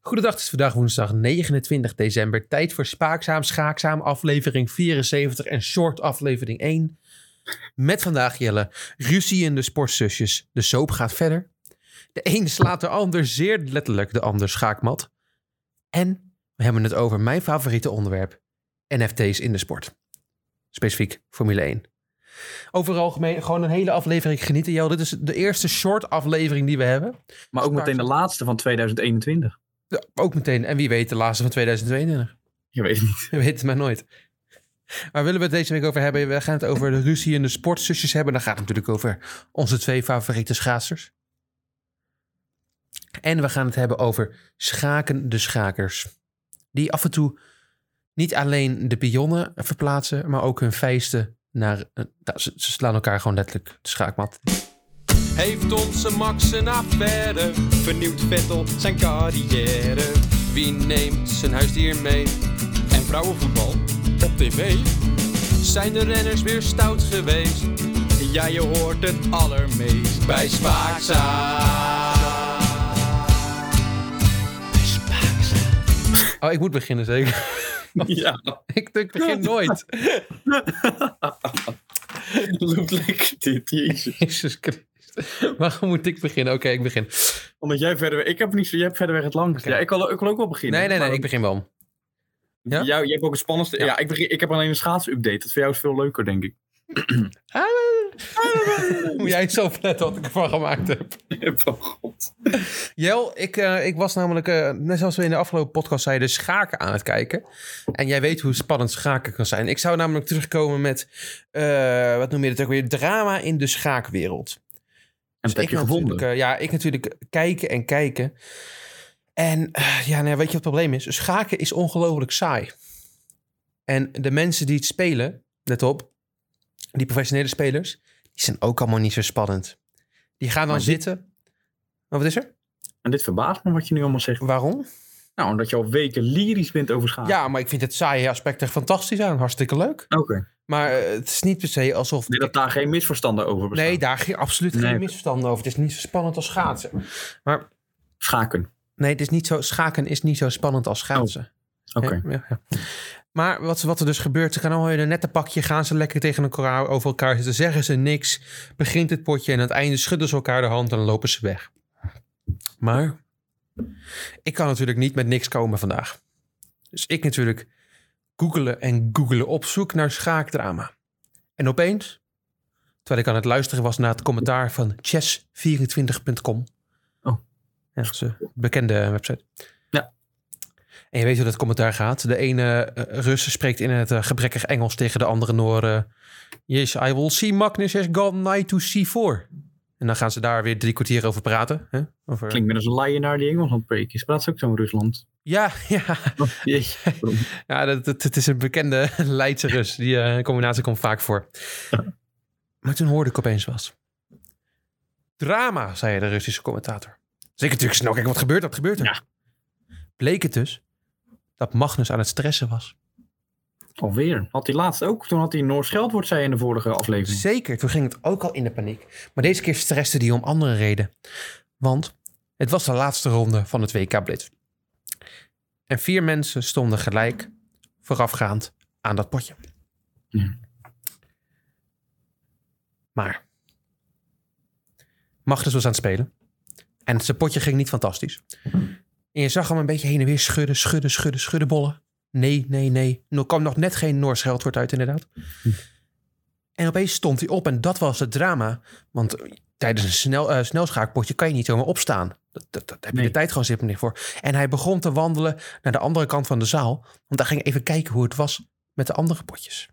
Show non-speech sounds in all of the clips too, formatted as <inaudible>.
Goedendag, het is vandaag woensdag 29 december. Tijd voor Spaakzaam, Schaakzaam, aflevering 74 en short aflevering 1. Met vandaag Jelle, ruzie in de sportzusjes. De soap gaat verder. De een slaat de ander zeer letterlijk de ander schaakmat. En we hebben het over mijn favoriete onderwerp, NFT's in de sport. Specifiek Formule 1. Overal gemeen, gewoon een hele aflevering genieten. Jel, dit is de eerste short aflevering die we hebben. Maar ook meteen de laatste van 2021. Ja, ook meteen. En wie weet, de laatste van 2022. Je weet het niet. Je weet het maar nooit. Maar willen we het deze week over hebben? We gaan het over de ruzie en de sportzusjes hebben. Dan gaat het natuurlijk over onze twee favoriete schaatsers. En we gaan het hebben over schaken de schakers. Die af en toe niet alleen de pionnen verplaatsen, maar ook hun vuisten naar... eh, nou, ze, ze slaan elkaar gewoon letterlijk de schaakmat. Heeft onze Max een affaire? Vernieuwt Vettel zijn carrière? Wie neemt zijn huisdier mee? En vrouwenvoetbal op tv? Zijn de renners weer stout geweest? Ja, je hoort het allermeest bij Spaakzaam. Oh, ik moet beginnen zeker. <laughs> Ja, ik, ik begin nooit. <laughs> loopt lekker dit, jezus. Jezus Christus. Waarom moet ik beginnen? Oké, ik begin. Omdat jij verder weg... Ik heb niet zo... Jij hebt verder weg het langste. Oké. Ja, ik kan, ik kan ook wel beginnen. Nee, nee, nee, Maar- ik begin wel. ja. Jou, jij hebt ook het spannendste... Ja, ik, begin, ik heb alleen een schaatsupdate. Dat voor jou is veel leuker, <laughs> denk ik. Ah. Moet jij eens opletten wat ik ervan gemaakt heb. Van god. Jel, ik, eh, ik was namelijk, eh, net zoals we in de afgelopen podcast zeiden, schaken aan het kijken. En jij weet hoe spannend schaken kan zijn. Ik zou namelijk terugkomen met, eh, wat noem je dat ook weer, drama in de schaakwereld. En Dus dat heb je ik gevonden. natuurlijk, eh, ja, ik natuurlijk kijken en kijken. En eh, ja, nou, ja, weet je wat het probleem is? Schaken is ongelooflijk saai. En de mensen die het spelen, let op, die professionele spelers, die zijn ook allemaal niet zo spannend. Die gaan dan Maar dit- zitten. Maar wat is er? En dit verbaast me wat je nu allemaal zegt. Waarom? Nou, omdat je al weken lyrisch bent over schaatsen. Ja, maar ik vind het saaie aspect er fantastisch aan. Hartstikke leuk. Oké. Maar eh, het is niet per se alsof... Nee, dat daar geen misverstanden over bestaan. Nee, daar ging absoluut geen Nee. misverstanden over. Het is niet zo spannend als schaatsen. Maar Schaken. nee, het is niet zo, schaken is niet zo spannend Oh. als schaatsen. Oké. Ja, ja, ja. Maar wat, wat er dus gebeurt, ze gaan allemaal in een nette pakje, gaan ze lekker tegen elkaar over elkaar zitten, zeggen ze niks, begint het potje en aan het einde schudden ze elkaar de hand en lopen ze weg. Maar ik kan natuurlijk niet met niks komen vandaag. Dus ik natuurlijk googelen en googelen op zoek naar schaakdrama. En opeens, terwijl ik aan het luisteren was naar het commentaar van chess24.com. Oh. Ja, dat is een bekende website. En je weet hoe dat commentaar gaat. De ene eh, Rus spreekt in het eh, gebrekkig Engels tegen de andere Noren. Yes, I will see Magnus has gone knight to c4. En dan gaan ze daar weer drie kwartier over praten. Hè? Over... Klinkt meer als een leienaar die Engels aan het preken is. Maar dat is ook zo in <laughs> Rusland. Ja, ja. Oh, jeetje. Waarom? ja dat, dat, het is een bekende <laughs> Leidse Rus. Die eh, combinatie komt vaak voor. Maar toen hoorde ik opeens was. Drama, zei de Russische commentator. Dus ik natuurlijk snel, kijk, wat gebeurt er? Wat gebeurt er? Ja. Bleek het dus dat Magnus aan het stressen was. Alweer. Had hij laatst ook. Toen had hij Noors Geldwoord, zei je in de vorige aflevering. Zeker, toen ging het ook al in de paniek. Maar deze keer stresste die om andere reden. Want het was de laatste ronde van het WK Blitz. En vier mensen stonden gelijk voorafgaand aan dat potje. Ja. Maar Magnus was aan het spelen. En zijn potje ging niet fantastisch. En je zag hem een beetje heen en weer schudden, schudden, schudden, schudden bollen. Nee, nee, nee. Er kwam nog net geen Noors geldwoord uit inderdaad. En opeens stond hij op en dat was het drama. Want tijdens een snel, eh, snelschaakpotje kan je niet zomaar opstaan. Dat, dat, dat heb je Nee. de tijd gewoon zitten niet voor. En hij begon te wandelen naar de andere kant van de zaal. Want hij ging even kijken hoe het was met de andere potjes.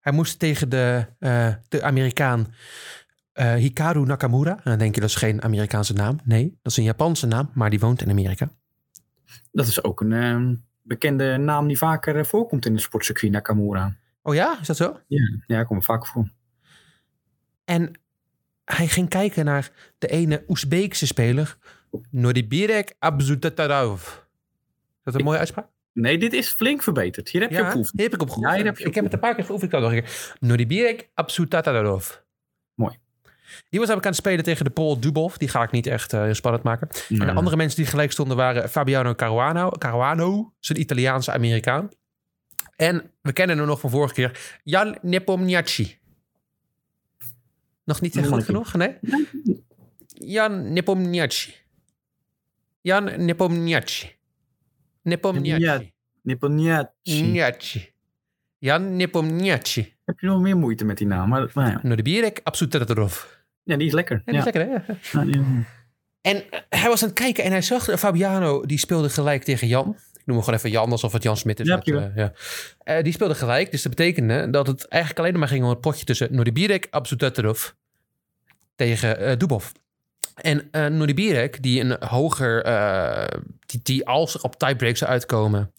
Hij moest tegen de, eh, de Amerikaan eh, Hikaru Nakamura. En dan denk je, dat is geen Amerikaanse naam. Nee, dat is een Japanse naam, maar die woont in Amerika. Dat is ook een ehm, bekende naam die vaker eh, voorkomt in het sportcircuit Nakamura. Oh ja, is dat zo? Ja, ik kom er vaak voor. En hij ging kijken naar de ene Oezbeekse speler, Nodibirek Abzutatarov. Is dat een mooie uitspraak? Nee, dit is flink verbeterd. Hier heb je ook die oefening. heb ik op geoefend. Ja, die heb je ik heb het een paar keer geoefend. Ik kan het nog een keer. Nodibirek Abzutatarov. Mooi. Die was ik aan het spelen tegen de Paul Dubov. Die ga ik niet echt eh, heel spannend maken. En de andere mensen die gelijk stonden waren Fabiano Caruano. Caruano is een Italiaanse Amerikaan. En we kennen hem nog van vorige keer. Jan Nepomniachtchi. Nog niet echt goed Moeilijk. genoeg? Nee? Jan Nepomniachtchi. Jan Nepomniachtchi. Nepomniachtchi. Nepomniachtchi. Nepomniachtchi. Jan Nepomniachtchi. Heb je nog meer moeite met die naam? Maar, nou ja. Nou, de bierek, absoluut dat erop. ja, die is lekker. Ja, Ja, die is lekker, hè? Ja, die- En eh, hij was aan het kijken en hij zag eh, Fabiano, die speelde gelijk tegen Jan. Ik noem hem gewoon even Jan, alsof het Jan Smit is. Ja, met, prima. eh, ja. Eh, die speelde gelijk, dus dat betekende dat het eigenlijk alleen maar ging om het potje tussen Nordibirek, Absuteterov tegen eh, Dubov. En eh Nordibirek, die een hoger, eh, die, die als er op tiebreaks zou uitkomen,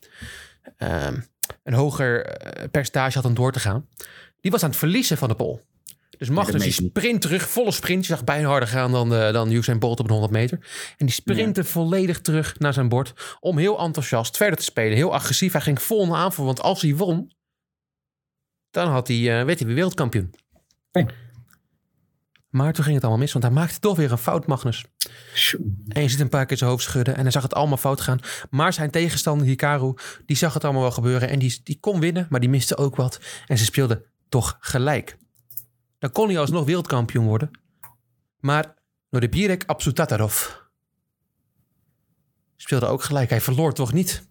ehm, een hoger eh, percentage had om door te gaan, die was aan het verliezen van de pol. Dus mag dat dus die meen je niet. sprint terug, volle sprint. Je zag bijna harder gaan dan, eh, dan Usain Bolt op een 100 meter. En die sprintte volledig terug naar zijn bord om heel enthousiast verder te spelen. Heel agressief. Hij ging vol naar aanval, want als hij won, dan had hij, eh, werd hij weer wereldkampioen. Oké. Maar toen ging het allemaal mis, want hij maakte toch weer een fout, Magnus. Sjoe. En je ziet hem een paar keer zijn hoofd schudden en hij zag het allemaal fout gaan. Maar zijn tegenstander Hikaru, die zag het allemaal wel gebeuren en die, die kon winnen, maar die miste ook wat. En ze speelden toch gelijk. Dan kon hij alsnog wereldkampioen worden. Maar Nordibirek Absutatarov speelde ook gelijk. Hij verloor toch niet?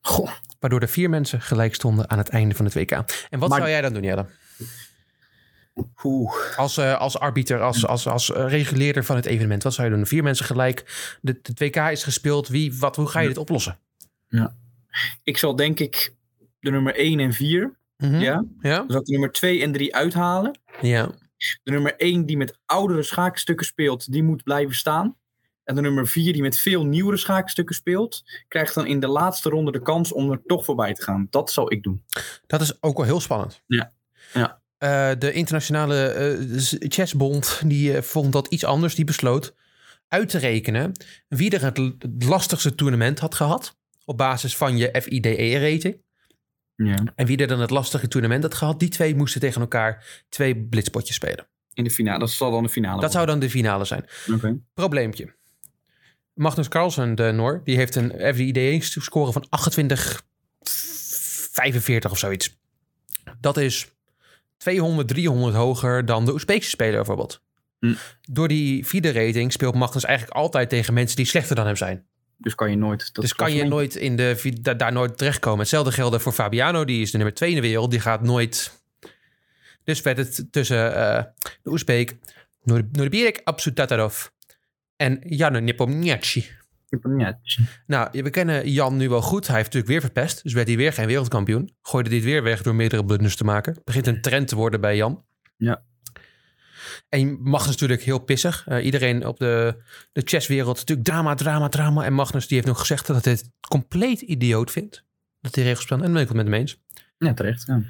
Goh. Waardoor er vier mensen gelijk stonden aan het einde van het WK. En wat Maar- zou jij dan doen, Jelle? Oeh. Als, eh, als arbiter, als, als, als eh, reguleerder van het evenement. Wat zou je doen? Vier mensen gelijk. De, het WK is gespeeld. Wie, wat, hoe ga je dit oplossen? Ik zal denk ik de nummer 1 en 4. Mhm. Ja. Ja? Dan zal ik de nummer 2 en 3 uithalen. Ja. De nummer 1 die met oudere schaakstukken speelt, die moet blijven staan. En de nummer 4 die met veel nieuwere schaakstukken speelt, krijgt dan in de laatste ronde de kans om er toch voorbij te gaan. Dat zal ik doen. Dat is ook wel heel spannend. Ja. Ja. Eh, de internationale eh, z- chessbond die eh, vond dat iets anders. Die besloot uit te rekenen wie er het, l- het lastigste toernooi had gehad. Op basis van je FIDE-rating. Ja. E En wie er dan het lastige toernooi had gehad. Die twee moesten tegen elkaar twee blitzpotjes spelen. In de finale. Dat zal dan de finale Dat zou dan de finale zijn. worden. Oké. probleempje. Magnus Carlsen, de Noor, die heeft een FIDE-score E van 28, 45 of zoiets. Dat is 200, 300 hoger dan de Oezbeekse speler bijvoorbeeld. Hm. Door die FIDE-rating speelt Magnus eigenlijk altijd tegen mensen die slechter dan hem zijn. Dus kan je nooit. Dat dus is kan je waarschijnlijk- nooit in de, vi- da- daar nooit terechtkomen. Hetzelfde geldt voor Fabiano, die is de nummer 2 in de wereld. Die gaat nooit... Dus werd het tussen eh, de Oezbeek, Nur- Nurbirek Absutatarov en Jan Nepomniachtchi. Ja, tj- Nou, we kennen Jan nu wel goed. Hij heeft natuurlijk weer verpest. Dus werd hij weer geen wereldkampioen. Gooide dit weer weg door meerdere blunders te maken. Begint een trend te worden bij Jan. Ja. En je- Magnus natuurlijk heel pissig. Eh, iedereen op de, de chesswereld natuurlijk drama, drama, drama. En Magnus die heeft nog gezegd dat hij het compleet idioot vindt. Dat hij regels plan. En dan ben ik het met hem eens. ja, terecht. Ja.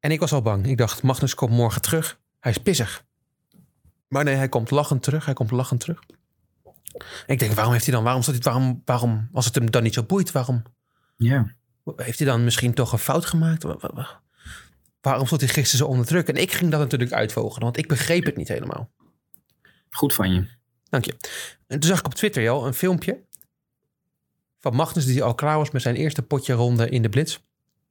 En ik was al bang. Ik dacht, Magnus komt morgen terug. Hij is pissig. Maar nee, hij komt lachend terug. Hij komt lachend terug. En ik denk, waarom heeft hij dan, waarom, zat hij, waarom, waarom, als het hem dan niet zo boeit, waarom ja. heeft hij dan misschien toch een fout gemaakt? Wa- wa- wa- Waarom stond hij gisteren zo onder druk? En ik ging dat natuurlijk uitvogelen, want ik begreep het niet helemaal. Goed van je. Dank je. En toen zag ik op Twitter jou een filmpje van Magnus die al klaar was met zijn eerste potje ronde in de Blitz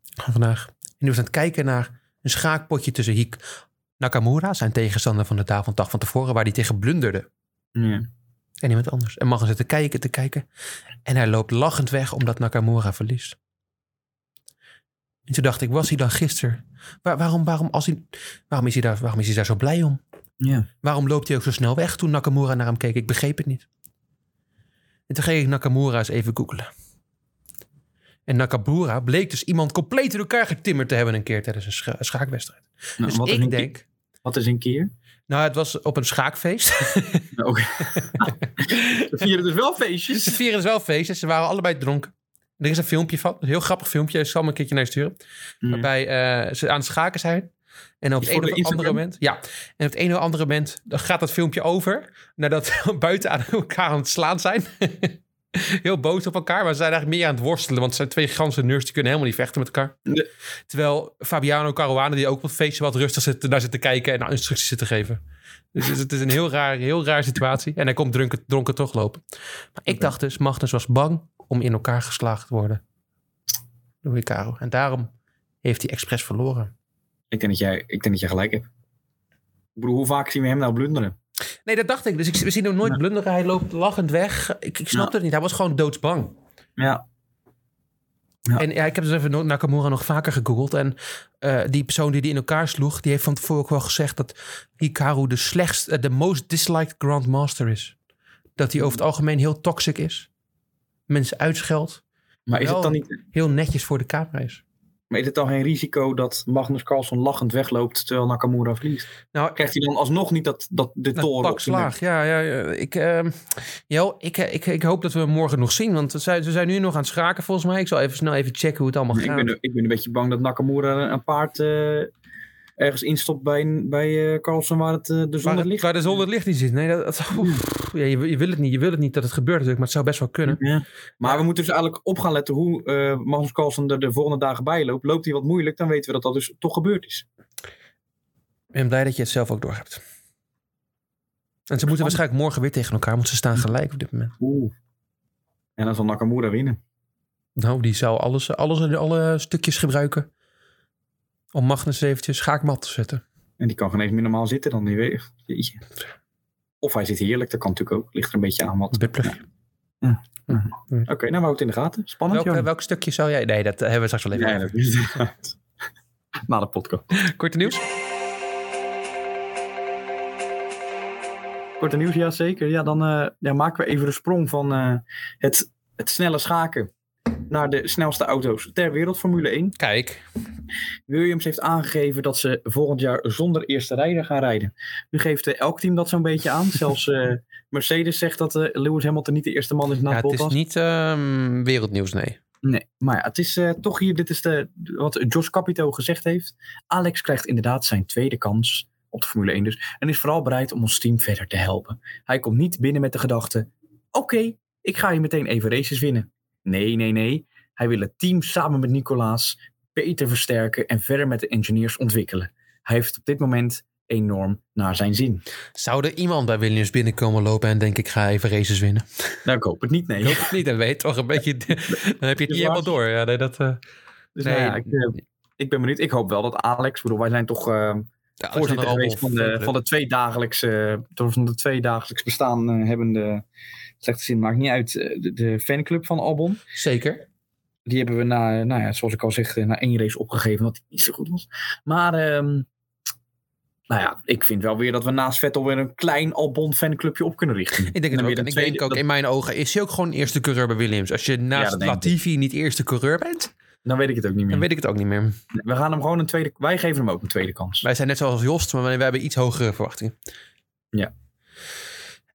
van vandaag. En die was aan het kijken naar een schaakpotje tussen Hik Nakamura, zijn tegenstander van de avonddag van tevoren, waar hij tegen blunderde. Ja. En iemand anders. En Magnus zit te kijken, te kijken. En hij loopt lachend weg omdat Nakamura verliest. En toen dacht ik, was hij dan gisteren? Waar- waarom, waarom, als hij, waarom, is hij daar, waarom is hij daar zo blij om? ja. Waarom loopt hij ook zo snel weg toen Nakamura naar hem keek? Ik begreep het niet. En toen ging ik Nakamura eens even googlen. En Nakamura bleek dus iemand compleet in elkaar getimmerd te hebben een keer tijdens een scha- schaakwedstrijd. Nou, dus wat, is ik een denk, keer, wat is een keer? nou het was op een schaakfeest. Nou, <laughs> Oké. We vieren dus wel feestjes. Ze vieren dus wel feestjes. Ze waren allebei dronken. Er is een filmpje van. Een heel grappig filmpje. Ik zal hem een keertje naar je sturen. Ja. Waarbij eh, ze aan het schaken zijn. En op het voor een of andere de Instagram? moment. Ja. En op het een of <laughs> andere moment. Dan gaat dat filmpje over. Nadat we buiten aan elkaar aan het slaan zijn. <laughs> heel boos op elkaar. Maar ze zijn eigenlijk meer aan het worstelen. Want ze zijn twee ganse nerds die kunnen helemaal niet vechten met elkaar. Nee. Terwijl Fabiano Caruana, die ook op het feestje wat rustig zit, naar zit te kijken en nou, instructies zit te geven. Dus het is- het is een heel raar, heel raar situatie. En hij komt dronken, dronken toch lopen. Maar ik dacht dus, Magnus was bang om in elkaar geslagen te worden. Door Hikaru. En daarom heeft hij expres verloren. Ik denk dat jij, ik denk dat jij gelijk hebt. Ik bedoel, hoe vaak zien we hem nou blunderen? Nee, dat dacht ik. Dus ik, we zien hem nooit blunderen. Hij loopt lachend weg. Ik, ik snap Ja. het niet. Hij was gewoon doodsbang. Ja. Ja. En ja, ik heb dus even no- Nakamura nog vaker gegoogeld. En eh, die persoon die die in elkaar sloeg, die heeft van tevoren ook wel gezegd dat Hikaru de slechtst, eh, de most disliked Grandmaster is. Dat hij over het algemeen heel toxic is. Mensen uitscheldt. Maar is, Wel. het dan niet, Heel netjes voor de camera is. maar is het dan geen risico dat Magnus Carlsen lachend wegloopt terwijl Nakamura verliest? Nou, Krijgt hij dan alsnog niet dat, dat de een toren pak slaag. Ja, ja, ja. Ik, ehm, Jel, ik, eh, ik, ik hoop dat we hem morgen nog zien. Want we zijn, we zijn nu nog aan het schaken volgens mij. Ik zal even snel even checken hoe het allemaal Nee, ik, gaat. ben, ik ben een beetje bang dat Nakamura een paard eh, ergens instopt bij, bij eh Carlsen waar het, eh, de zon Waar, het het, ligt. waar de zon het licht in zit. Nee, dat, dat- oef. ja, je, je wil het niet. Je wil het niet dat het gebeurt natuurlijk. Maar het zou best wel kunnen. Ja. Maar we moeten dus eigenlijk op gaan letten hoe eh Magnus Carlsen er de volgende dagen bij loopt. Loopt hij wat moeilijk, dan weten we dat dat dus toch gebeurd is. Ik ben blij dat je het zelf ook doorhebt. En ze moeten waarschijnlijk morgen weer tegen elkaar, want ze staan gelijk op dit moment. Oeh. En dan zal Nakamura winnen. Nou, die zou alles, alles en alle stukjes gebruiken om Magnus eventjes schaakmat te zetten. En die kan geen eens meer normaal zitten dan die weer. Jeetje. Of hij zit heerlijk, dat kan natuurlijk ook. Ligt er een beetje aan wat. Buttplugje. Oké, nou we houden het in de gaten. Spannend, Welk, joh. welk stukje zou jij... Nee, dat hebben we straks wel even. Ja, dat is <laughs> Na de podcast. Korte nieuws. Korte nieuws, ja zeker. Ja, dan eh, ja, maken we even de sprong van eh, het, het snelle schaken naar de snelste auto's ter wereld, Formule 1. Kijk. Williams heeft aangegeven dat ze volgend jaar zonder eerste rijder gaan rijden. Nu geeft eh, elk team dat zo'n beetje <laughs> aan. Zelfs eh, Mercedes zegt dat eh, Lewis Hamilton niet de eerste man is na Ja, het is Bottas. niet ehm, wereldnieuws, nee. Nee, maar ja, het is eh, toch hier, dit is de, wat Jos Capito gezegd heeft. Alex krijgt inderdaad zijn tweede kans op de Formule 1 dus. En is vooral bereid om ons team verder te helpen. Hij komt niet binnen met de gedachte, oké, ik ga hier meteen even races winnen. Nee, nee, nee. Hij wil het team samen met Nicolaas beter versterken en verder met de engineers ontwikkelen. Hij heeft het op dit moment enorm naar zijn zin. Zou er iemand bij Williams binnenkomen lopen en denk ik ga even races winnen? Nou, ik hoop het niet, nee. Ik hoop het niet, dan weet je toch een beetje... Dan heb je het niet helemaal door. Ja, nee, dat... eh Dus, Nee. nou ja, ik, eh, ik ben benieuwd. Ik hoop wel dat Alex, ik bedoel, wij zijn toch... eh, ja, voorzitter geweest van de, van de tweedagelijkse, toch van de tweedagelijks bestaan eh, hebbende, slechte zin, maakt niet uit, eh, de, de fanclub van Albon. Zeker. Die hebben we na, eh, nou ja, zoals ik al zeg, eh, na één race opgegeven, omdat die niet zo goed was. Maar, ehm, nou ja, ik vind wel weer dat we naast Vettel weer een klein Albon fanclubje op kunnen richten. Ik denk het Dan ook. weer En de ik tweede- denk ook, dat- in mijn ogen, is hij ook gewoon eerste coureur bij Williams. Als je Ja, naast dat denk ik. Latifi niet eerste coureur bent, Dan weet ik het ook niet meer. dan weet ik het ook niet meer. We gaan hem gewoon een tweede, wij geven hem ook een tweede kans. Wij zijn net zoals Jost, maar wij wij hebben iets hogere verwachtingen. Ja.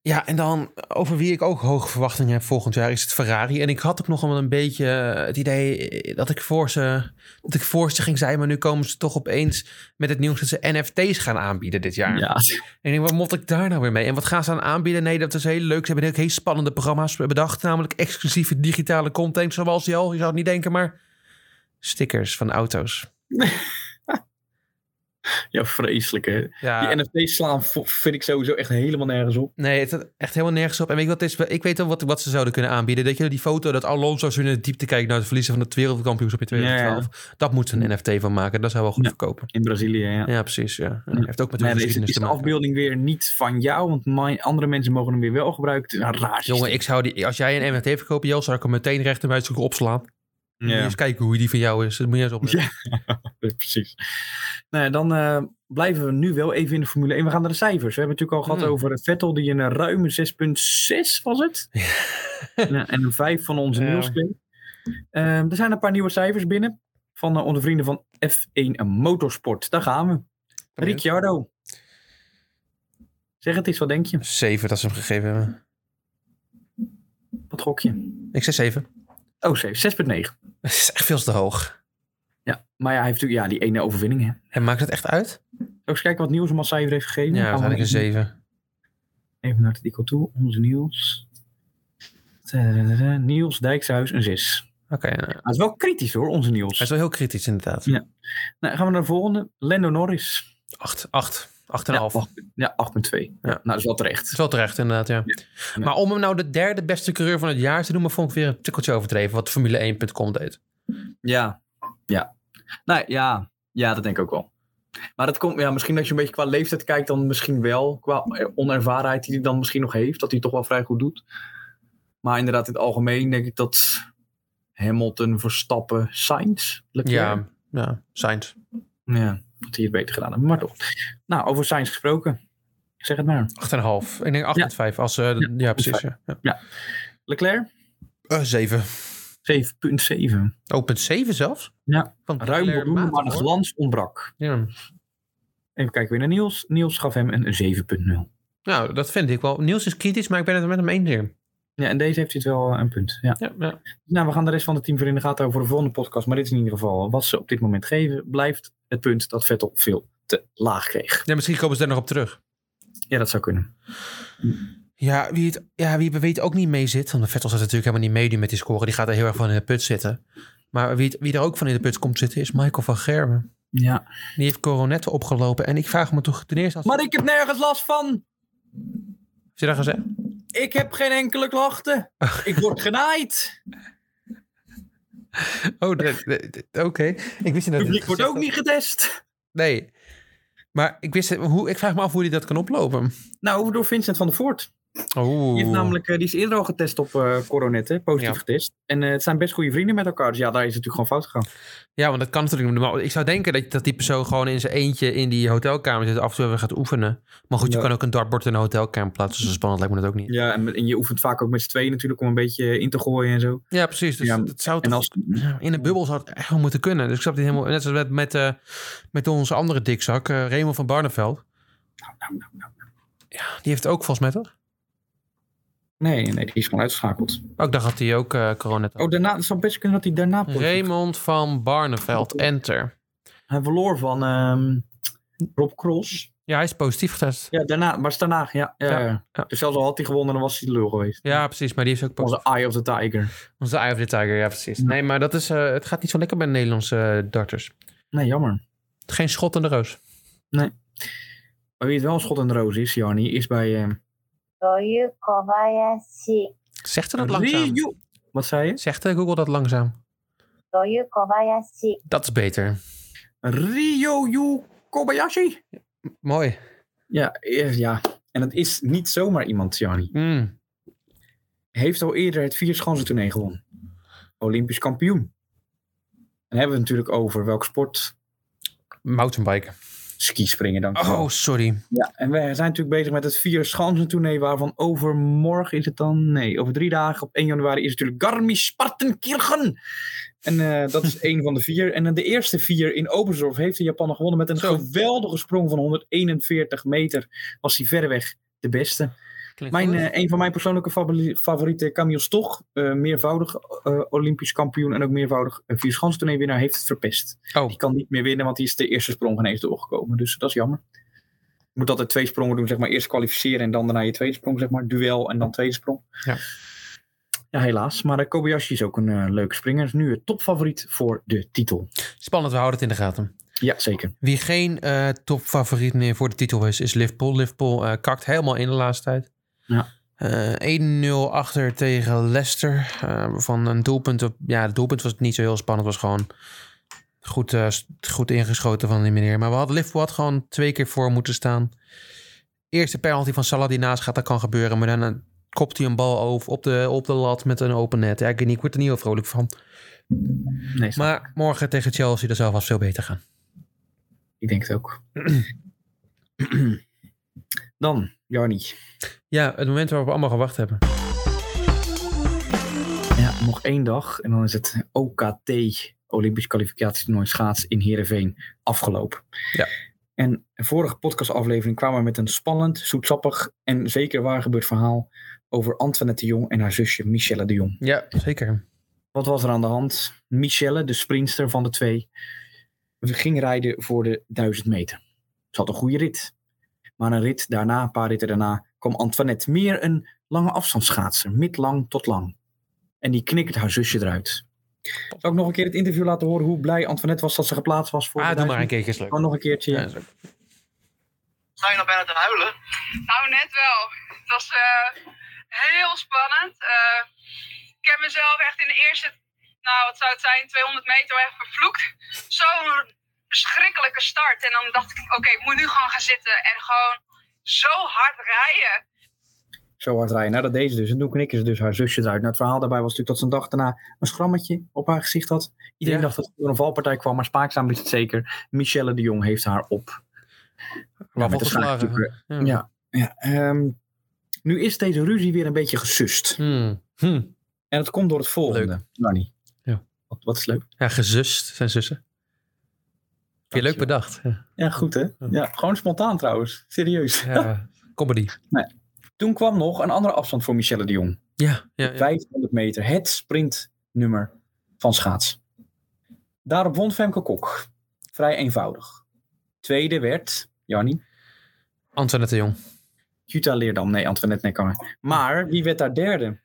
Ja, en dan over wie ik ook hoge verwachtingen heb volgend jaar is het Ferrari. En ik had ook nog wel een beetje eh, het idee dat ik voor ze, dat ik voor ze ging zijn. Maar nu komen ze toch opeens met het nieuws dat ze NFT's gaan aanbieden dit jaar. Ja, <laughs> En ik denk, wat moet ik daar nou weer mee? En wat gaan ze aan aanbieden? Nee, dat is heel leuk. Ze hebben ook heel spannende programma's bedacht. Namelijk exclusieve digitale content, zoals die al. Je zou het niet denken, maar stickers van auto's. ja vreselijk hè. Ja, Die NFT's slaan vo- vind ik sowieso echt helemaal nergens op. nee, het staat echt helemaal nergens op. En weet je wat het is? Ik weet al wat, wat ze zouden kunnen aanbieden. Dat je die foto dat Alonso zo in de diepte kijkt naar het verliezen van het wereldkampioenschap in 2012. Dat moet ze een NFT van maken. Dat zou wel goed Mm. Ja. verkopen. In Brazilië, ja. Ja, precies. Ja. Ja, Heeft ook met hun Maar ja, is, geschiedenis is te de maken. afbeelding weer niet van jou, want mijn, andere mensen mogen hem weer wel gebruiken. Nou, raar. systeem. Jongen, ik zou die, als jij een NFT verkoopt, Jel, zou ik hem meteen recht en buiten opslaan. Moet je Ja. Eens kijken hoe die van jou is. Dat moet je eens opletten. Ja, <laughs> precies. Nou ja, dan eh, blijven we nu wel even in de Formule 1. We gaan naar de cijfers. We hebben het natuurlijk al gehad Hmm. over Vettel, die een eh, ruime 6,6 was <laughs> het. Ja, en een 5 van onze Ja. nieuws. kreeg. Ehm, er zijn een paar nieuwe cijfers binnen van eh, onze vrienden van F1 Motorsport. Daar gaan we. Ricciardo. Zeg het eens, wat denk je? 7 dat ze hem gegeven hebben. Wat gok je? Ik zei 7. <laughs> Oh, zeven, 6,9. Dat is echt veel te hoog. Ja, maar ja, hij heeft natuurlijk ja, die ene overwinning. Hè. En maakt het echt uit? Ook eens kijken wat Niels hem als cijfer heeft gegeven. Ja, Gaan we waarschijnlijk een even, 7. even naar het artikel toe. Onze Niels. Tadadada, Niels Dijkshuis een 6. Oké, nou, hij Hij is wel kritisch hoor, onze Niels. is wel heel kritisch inderdaad. Ja. Nou, gaan we naar de volgende. Lando Norris. 8, 8, 8,5. Ja, Dat acht- Ja, 8,2. Ja. Ja. Nou, dat is wel terecht. is wel terecht inderdaad, ja. Ja. Maar om hem nou de derde beste coureur van het jaar te noemen, vond ik weer een tikkeltje overdreven wat Formule1.com deed. Ja, ja. Nou ja, ja, dat denk ik ook wel. Maar dat komt, ja, misschien als je een beetje qua leeftijd kijkt, dan misschien wel. Qua onervarenheid die hij dan misschien nog heeft, dat hij het toch wel vrij goed doet. Maar inderdaad, in het algemeen denk ik dat Hamilton, Verstappen, Sainz, Leclerc, Ja, ja, Sainz. ja. dat hij het beter gedaan heeft. Maar toch. Nou, over Sainz gesproken. Zeg het maar. 8,5. Ik denk 8,5. Als, eh, ja, precies. Ja. Ja. Leclerc, Eh, 7. 7,7. Oh, punt 7 zelfs? Ja. Van Ruim voldoende, maar de hoor. glans ontbrak. Ja. Even kijken weer naar Niels. Niels gaf hem een 7,0. Nou, dat vind ik wel. Niels is kritisch, maar ik ben het er met hem eens hier. Ja, en deze heeft hij het wel eh, een punt. Ja. Ja, ja. Nou, we gaan de rest van het team voor in de gaten houden voor de volgende podcast. Maar dit is in ieder geval wat ze op dit moment geven. Blijft het punt dat Vettel veel te laag kreeg. Ja, misschien komen ze daar nog op terug. Ja, dat zou kunnen. Ja, wie, het, ja, wie we weten ook niet mee zit. Want Vettel zat natuurlijk helemaal niet mee nu met die score. Die gaat er heel erg van in de put zitten. Maar wie, het- wie er ook van in de put komt zitten is Michael van Gerwen. Ja. Die heeft coronetten opgelopen. En ik vraag me toch ten eerste af. Maar ik heb nergens last van. Heb je dat gezegd? Ik heb geen <laughs> enkele klachten. Ik word genaaid. Oh, dat- dat- dat- oké. <laughs> Ik wist Het inderdaad publiek wordt gezegd ook had. niet getest. Nee. Maar ik, wist, hoe, ik vraag me af hoe hij dat kan oplopen. Nou, door Vincent van der Voort. Oh. Die, heeft namelijk, eh, die is eerder al getest op eh coronetten. Positief Ja. getest. En eh, het zijn best goede vrienden met elkaar. Dus ja, daar is het natuurlijk gewoon fout gegaan. Ja, want dat kan natuurlijk niet. Maar ik zou denken dat, dat die persoon gewoon in zijn eentje in die hotelkamer zit. Af en toe even gaat oefenen. Maar goed, je Ja. kan ook een dartbord in een hotelkamer plaatsen. Zo spannend lijkt me dat ook niet. Ja, en, met- en je oefent vaak ook met z'n tweeën natuurlijk om een beetje in te gooien en zo. Ja, precies. Dus Ja, dat zou En toch- als, in een bubbel zou het echt wel moeten kunnen. Dus ik snap dit helemaal... Net zoals met, met, eh, met onze andere dikzak, eh Raymond van Barneveld. Ja, die heeft ook volgens mij toch? Nee, nee, die is gewoon uitgeschakeld. Oh, ik dacht dat hij ook eh corona had. Oh, daarna, het zou best kunnen dat hij daarna Oh, positief- Raymond van Barneveld, enter. Hij verloor van ehm, Rob Cross. Ja, hij is positief getest. Ja, daarna, maar is daarna, ja. ja, Ja, ja. ja. Dus zelfs al had hij gewonnen, dan was hij de lul geweest. Ja, precies. Maar die is ook positief. Onze Eye of the Tiger. Onze Eye of the Tiger, ja precies. Ja. Nee, maar dat is, eh, het gaat niet zo lekker bij de Nederlandse eh, darters. Nee, jammer. Geen schot in de roos. Maar wie het wel een schot in de roos is, Jarni, is bij... ehm, という小林、 Zegt ze dat langzaam? Ryu. Wat zei je? Zegt eh, Google dat langzaam? という小林、 Dat is beter. Ryoyu Kobayashi. Mooi. Ja, eh, ja. En dat is niet zomaar iemand, Jarni. Mm. Heeft al eerder het vierschansen toernooi gewonnen. Olympisch kampioen. En dan hebben we het natuurlijk over welk sport? Mountainbiken. Skispringen dan. Oh, sorry. Ja, en wij zijn natuurlijk bezig met het vier schansen toernooi waarvan overmorgen is het dan? Nee, over drie dagen op 1 januari is het natuurlijk Garmisch-Partenkirchen. En eh, dat is één van de vier. En dan de eerste vier in Oberstdorf heeft de Japaner gewonnen met een Zo. geweldige sprong van 141 meter. Was hij verreweg de beste. Klinkt Mijn, goed. eh, een van mijn persoonlijke favori- favorieten, Camille Stoch, eh, meervoudig eh, Olympisch kampioen en ook meervoudig uh, vier schansen winnaar, heeft het verpest. oh, Die kan niet meer winnen, want die is de eerste sprong ineens doorgekomen. Dus dat is jammer. Je moet altijd twee sprongen doen, zeg maar. Eerst kwalificeren en dan daarna je tweede sprong, zeg maar. Duel en dan tweede sprong. Ja. Ja, helaas. Maar eh, Kobayashi is ook een eh, leuke springer. Is nu het topfavoriet voor de titel. spannend. We houden het in de gaten. Ja, zeker. Wie geen eh, topfavoriet meer voor de titel is, is Liverpool. Liverpool eh, kakt helemaal in de laatste tijd. Ja. Eh, 1-0 achter tegen Leicester. eh, van een doelpunt. op- ja, het doelpunt was niet zo heel spannend. Het was gewoon goed, eh, s- goed ingeschoten van die meneer. Maar we hadden Liverpool had gewoon twee keer voor moeten staan. Eerste penalty van Salah die naast gaat, dat kan gebeuren. Maar dan eh, kopt hij een bal over op de, op de lat met een open net. Ja, ik, weet niet, ik word er niet heel vrolijk van. Nee, snap Maar morgen tegen Chelsea, dat zou vast veel beter gaan. ik. ik denk het <clears throat> ook. dan, Jarni. Ja, het moment waarop we allemaal gewacht hebben. Ja, nog één dag en dan is het OKT, Olympisch kwalificatietoernooi schaats in Heerenveen, afgelopen. Ja. En de vorige podcastaflevering kwamen we met een spannend, zoetsappig en zeker waar gebeurd verhaal over Antoinette de Jong en haar zusje Michelle de Jong. Ja, zeker. Wat was er aan de hand? Michelle, de sprinster van de twee, ging rijden voor de 1000 meter. Ze had een goede rit. Maar een rit daarna, een paar ritten daarna, kwam Antoinette meer een lange afstandsschaatser, mid-lang tot lang. En die knikkert haar zusje eruit. Zal ik nog een keer het interview laten horen hoe blij Antoinette was dat ze geplaatst was voor Ah, de doe maar een duizend? keertje is leuk. Gewoon nog een keertje. Ja, ja. is leuk. Sta je nou bijna te huilen? Nou, net wel. Het was eh, heel spannend. Eh, ik heb mezelf echt in de eerste, nou wat zou het zijn, 200 meter echt vervloekt. Zo'n verschrikkelijke start. En dan dacht ik, oké, ik moet nu gewoon gaan zitten en gewoon zo hard rijden. Zo hard rijden. Nou, dat deed ze dus. En toen knikken ze dus haar zusje eruit. Nou, het verhaal daarbij was natuurlijk dat ze een dag daarna een schrammetje op haar gezicht had. Iedereen Ja. dacht dat ze door een valpartij kwam, maar spaakzaam is het zeker. Michelle de Jong heeft haar op. Waarvan met de geslagen. schaakdoeken. Ja. Ja. ja ehm, nu is deze ruzie weer een beetje gesust. Hmm. Hmm. En dat komt door het volgende. Leuk. Nanny. Ja. Wat, wat is leuk? Ja, gezust zijn zussen. Vind je leuk Dankjewel. bedacht. Ja. Ja, goed hè? Ja, gewoon spontaan trouwens. Serieus. Ja, Ah. comedy. Toen kwam nog een andere afstand voor Michelle de Jong. Ja, ja, ja. 500 meter. Het sprintnummer van schaats. Daarop won Femke Kok. Vrij eenvoudig. Tweede werd, Jannie, Antoinette de Jong. Jutta Leerdam. Nee, Antoinette Nekkanger. Maar wie werd daar derde?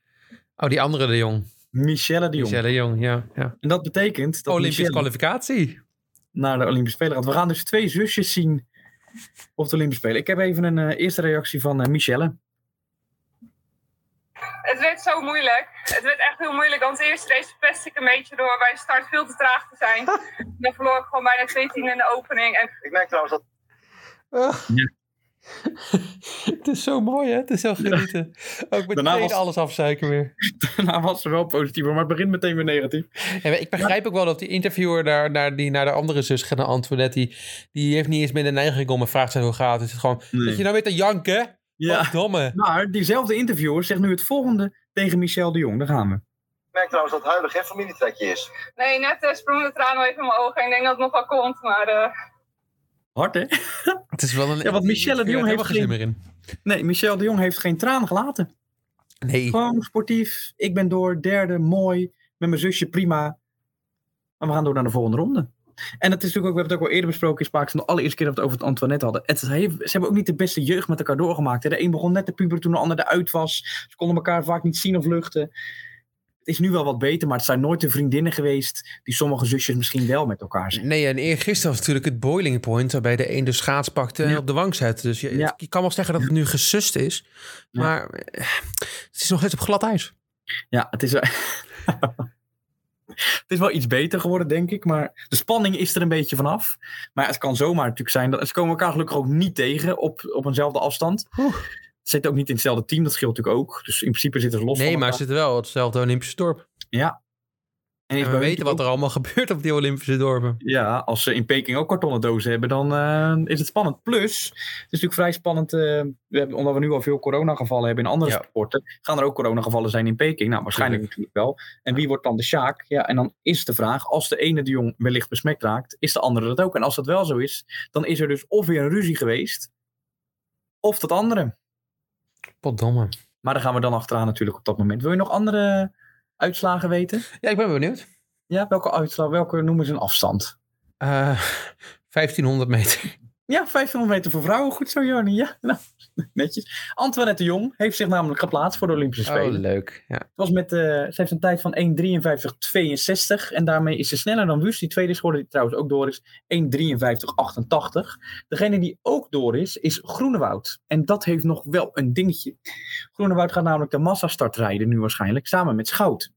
Oh, die andere de Jong. Michelle de Jong. Michelle de Jong, ja. ja. En dat betekent dat Olympische Michelle kwalificatie. <laughs> naar de Olympische Spelen gaat. We gaan dus twee zusjes zien op de Olympische Spelen. Ik heb even een eh, eerste reactie van eh, Michelle. <laughs> Het werd zo moeilijk. Het werd echt heel moeilijk. Want de eerste race verpest ik een beetje door bij de start veel te traag te <laughs> zijn. Dan verloor ik gewoon bijna 2-10 in de opening. En Ik merk trouwens dat Het is zo mooi, hè? Het is zo genieten. Ook meteen Daarna was- alles afzuiken weer. Daarna Nou, was ze wel positief, maar het begint meteen weer negatief. Ja, maar ik begrijp ook wel dat die interviewer daar, naar, die naar de andere zus gaat, naar Antoinette, die, die heeft niet eens meer de neiging om en vraagt ze hoe gaat het. Is het gewoon, dat je nou weet te janken? Wat domme. Maar diezelfde interviewer zegt nu het volgende tegen Michelle de Jong. Daar gaan we. Ik merk trouwens dat huilen geen familietrekje is. nee, net eh, sprong de traan al even in mijn ogen. Ik denk dat het nog wel komt, maar... eh, Hard, hè? Het is wel een... Ja, want Michelle ik de Jong heb er heeft helemaal geen zin Nee, Michelle de Jong heeft geen traan gelaten. meer in. Nee. Gewoon sportief. Ik ben door. Derde, mooi. Met mijn zusje, prima. Maar we gaan door naar de volgende ronde. En dat is natuurlijk ook, we hebben het ook al eerder besproken in Spaakzaam. De allereerste keer dat we het over het Antoinette hadden. Het heeft- ze hebben ook niet de beste jeugd met elkaar doorgemaakt. Hè. De een begon net te puberen toen de ander eruit was. Ze konden elkaar vaak niet zien of luchten. Het is nu wel wat beter, maar het zijn nooit de vriendinnen geweest die sommige zusjes misschien wel met elkaar zijn. Nee, en eergisteren was natuurlijk het boiling point waarbij de een de schaats pakte en Ja. op de wang zette. Dus je, Ja. je kan wel zeggen dat het nu gesust is, Ja. maar eh, het is nog steeds op glad ijs. Ja, het is, wel- <laughs> het is wel iets beter geworden, denk ik. Maar de spanning is er een beetje vanaf. Maar het kan zomaar natuurlijk zijn. Dat, ze komen elkaar gelukkig ook niet tegen op, op eenzelfde afstand. Oeh. Ze zitten ook niet in hetzelfde team, dat scheelt natuurlijk ook. Dus in principe zitten ze los Nee, van maar elkaar. het zit wel op hetzelfde Olympische dorp. En is En we bij weten hun wat er allemaal <laughs> gebeurt op die Olympische dorpen. ook- Ja, als ze in Peking ook kartonnen dozen hebben, dan eh, is het spannend. Plus, het is natuurlijk vrij spannend. eh, we hebben, omdat we nu al veel coronagevallen hebben in andere Ja. sporten, gaan er ook coronagevallen zijn in Peking? Nou, waarschijnlijk natuurlijk wel. En wie wordt dan de Sjaak? Ja, en dan is de vraag: als de ene de jong wellicht besmet raakt, is de andere dat ook? En als dat wel zo is, dan is er dus of weer een ruzie geweest, of dat andere. Potdomme. Maar daar gaan we dan achteraan natuurlijk op dat moment. Wil je nog andere uitslagen weten? Ja, ik ben benieuwd. Ja, welke uitslag? Welke noemen ze een afstand? Eh, <laughs> 1500 meter. Ja, 500 meter voor vrouwen. Goed zo, Joni. Ja, nou, <laughs> netjes. Antoinette de Jong heeft zich namelijk geplaatst voor de Olympische Spelen. Oh, leuk. Ja. Het was met, eh, ze heeft een tijd van 1.53.62 en daarmee is ze sneller dan Wust, die tweede is geworden, die trouwens ook door is, 1.53.88. Degene die ook door is, is Groenewoud. En dat heeft nog wel een dingetje. Groenewoud gaat namelijk de massastart rijden nu waarschijnlijk, samen met Schouten.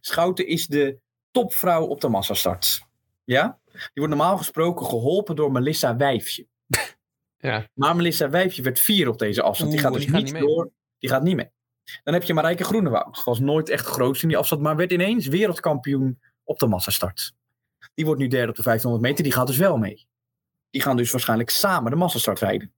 Schouten is de topvrouw op de massastart. Ja? Die wordt normaal gesproken geholpen door Melissa Wijfje. Ja. Maar Melissa Wijfje werd vier op deze afstand. die Oeh, gaat dus die gaat niet niet mee. door. Die gaat niet mee. Dan heb je Marijke Groenewoud. Was nooit echt groot in die afstand, maar werd ineens wereldkampioen op de massastart. Die wordt nu derde op de 1500 meter, die gaat dus wel mee. Die gaan dus waarschijnlijk samen de massastart rijden.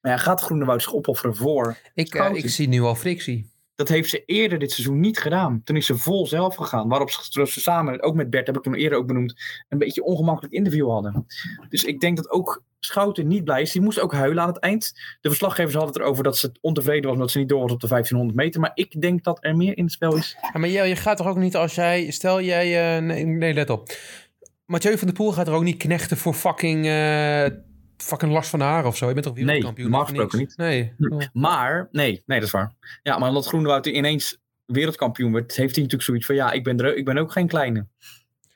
Maar ja, gaat Groenewoud zich opofferen voor? Ik, eh, Schouten. ik zie nu al frictie. Dat heeft ze eerder dit seizoen niet gedaan. Toen is ze vol zelf gegaan. Waarop ze ze samen, ook met Bert, heb ik toen eerder ook benoemd, een beetje ongemakkelijk interview hadden. Dus ik denk dat ook Schouten niet blij is. Die moest ook huilen aan het eind. De verslaggevers hadden het erover dat ze ontevreden was omdat ze niet door was op de 1500 meter. Maar ik denk dat er meer in het spel is. Ja, maar je, je gaat toch ook niet als jij... Stel jij... eh, nee, nee, let op. Mathieu van der Poel gaat er ook niet knechten voor fucking... eh, fucking Lars van Haar of zo. Je bent toch Nee, wereldkampioen? normaal of niks? Oh. gesproken niet. Nee. Maar, nee, nee, dat is waar. Ja, maar omdat Groenewoud ineens wereldkampioen werd, heeft hij natuurlijk zoiets van: ja, ik ben, er, ik ben ook geen kleine.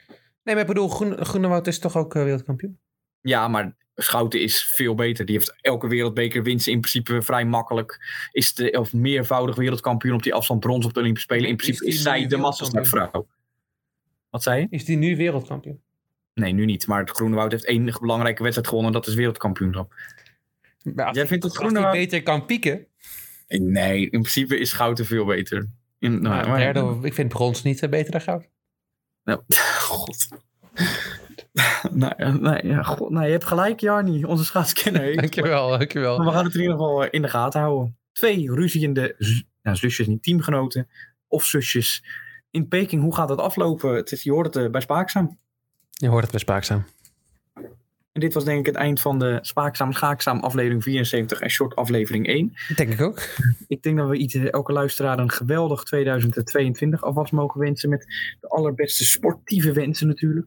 Nee, maar ik bedoel, Groen, Groenewoud is toch ook eh, wereldkampioen? Ja, maar Schouten is veel beter. Die heeft elke wereldbeker winst in principe vrij makkelijk. Is de of meervoudig wereldkampioen op die afstand brons op de Olympische Spelen. In principe Is is, die nu zij de wereldkampioen? massastartvrouw. Wat zei je? Is die nu wereldkampioen? Nee, nu niet. Maar het Groenewoud heeft één belangrijke wedstrijd gewonnen. en Dat is wereldkampioenschap. Maar als Jij die- vindt dat als Groenewoud- die beter kan pieken. Nee, in principe is Schouten veel beter. In, nou, Nou, maar- derde, ik vind brons niet eh, beter dan <laughs> goud. Nou, <laughs> god. <laughs> nou, nou, ja, god. nou, je hebt gelijk, Jarni, onze <laughs> schaatskenner. heeft. Dankjewel, Maar dankjewel. we gaan het in ieder geval eh, in de gaten houden. Twee ruziende z- nou, zusjes, niet teamgenoten of zusjes. In Peking, hoe gaat dat aflopen? Het is, je hoort het eh, bij Spaakzaam. Je hoort het bij Spaakzaam. En dit was denk ik het eind van de Spaakzaam Schaakzaam aflevering 74 en short aflevering 1. Denk ik ook. Ik denk dat we iets, eh, elke luisteraar een geweldig 2022 alvast mogen wensen. Met de allerbeste sportieve wensen natuurlijk.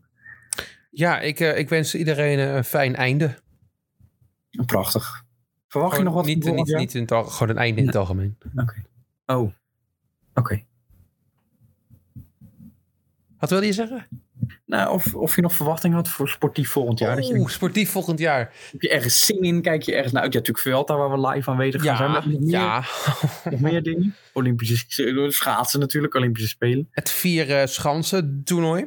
Ja, ik, eh, ik wens iedereen eh, een fijn einde. Prachtig. Verwacht je Gewoon nog wat? Oh, niet, van niet, volgend jaar? niet in het al, Gewoon een einde in het algemeen. Oh, oké. Wat wilde je zeggen? Nou, of, of je nog verwachting had voor sportief volgend jaar. Dat je, Oeh, sportief volgend jaar. heb je ergens zin in? Kijk je ergens naar uit? Ja, natuurlijk Vuelta, waar we live aanwezig gaan zijn. Ja, maar Nog meer, ja. nog meer dingen. Olympische eh, schaatsen natuurlijk, Olympische Spelen. <laughs> het vier eh, schansen toernooi.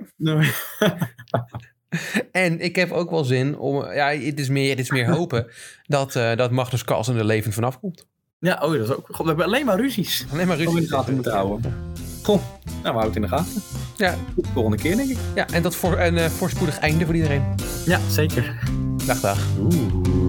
En ik heb ook wel zin om... Ja, het is meer, het is meer hopen <laughs> dat, eh, dat Magnus Carlsen er levend vanaf komt. Ja, oh, dat is ook. God, we hebben alleen maar ruzies. Alleen maar Ook in ruzie. de gaten moeten houden. Goh, nou, we houden het in de gaten. Ja. Tot de volgende keer, denk ik. Ja, en dat voor een eh, voorspoedig einde voor iedereen. Ja, zeker. Dag, dag. Oeh.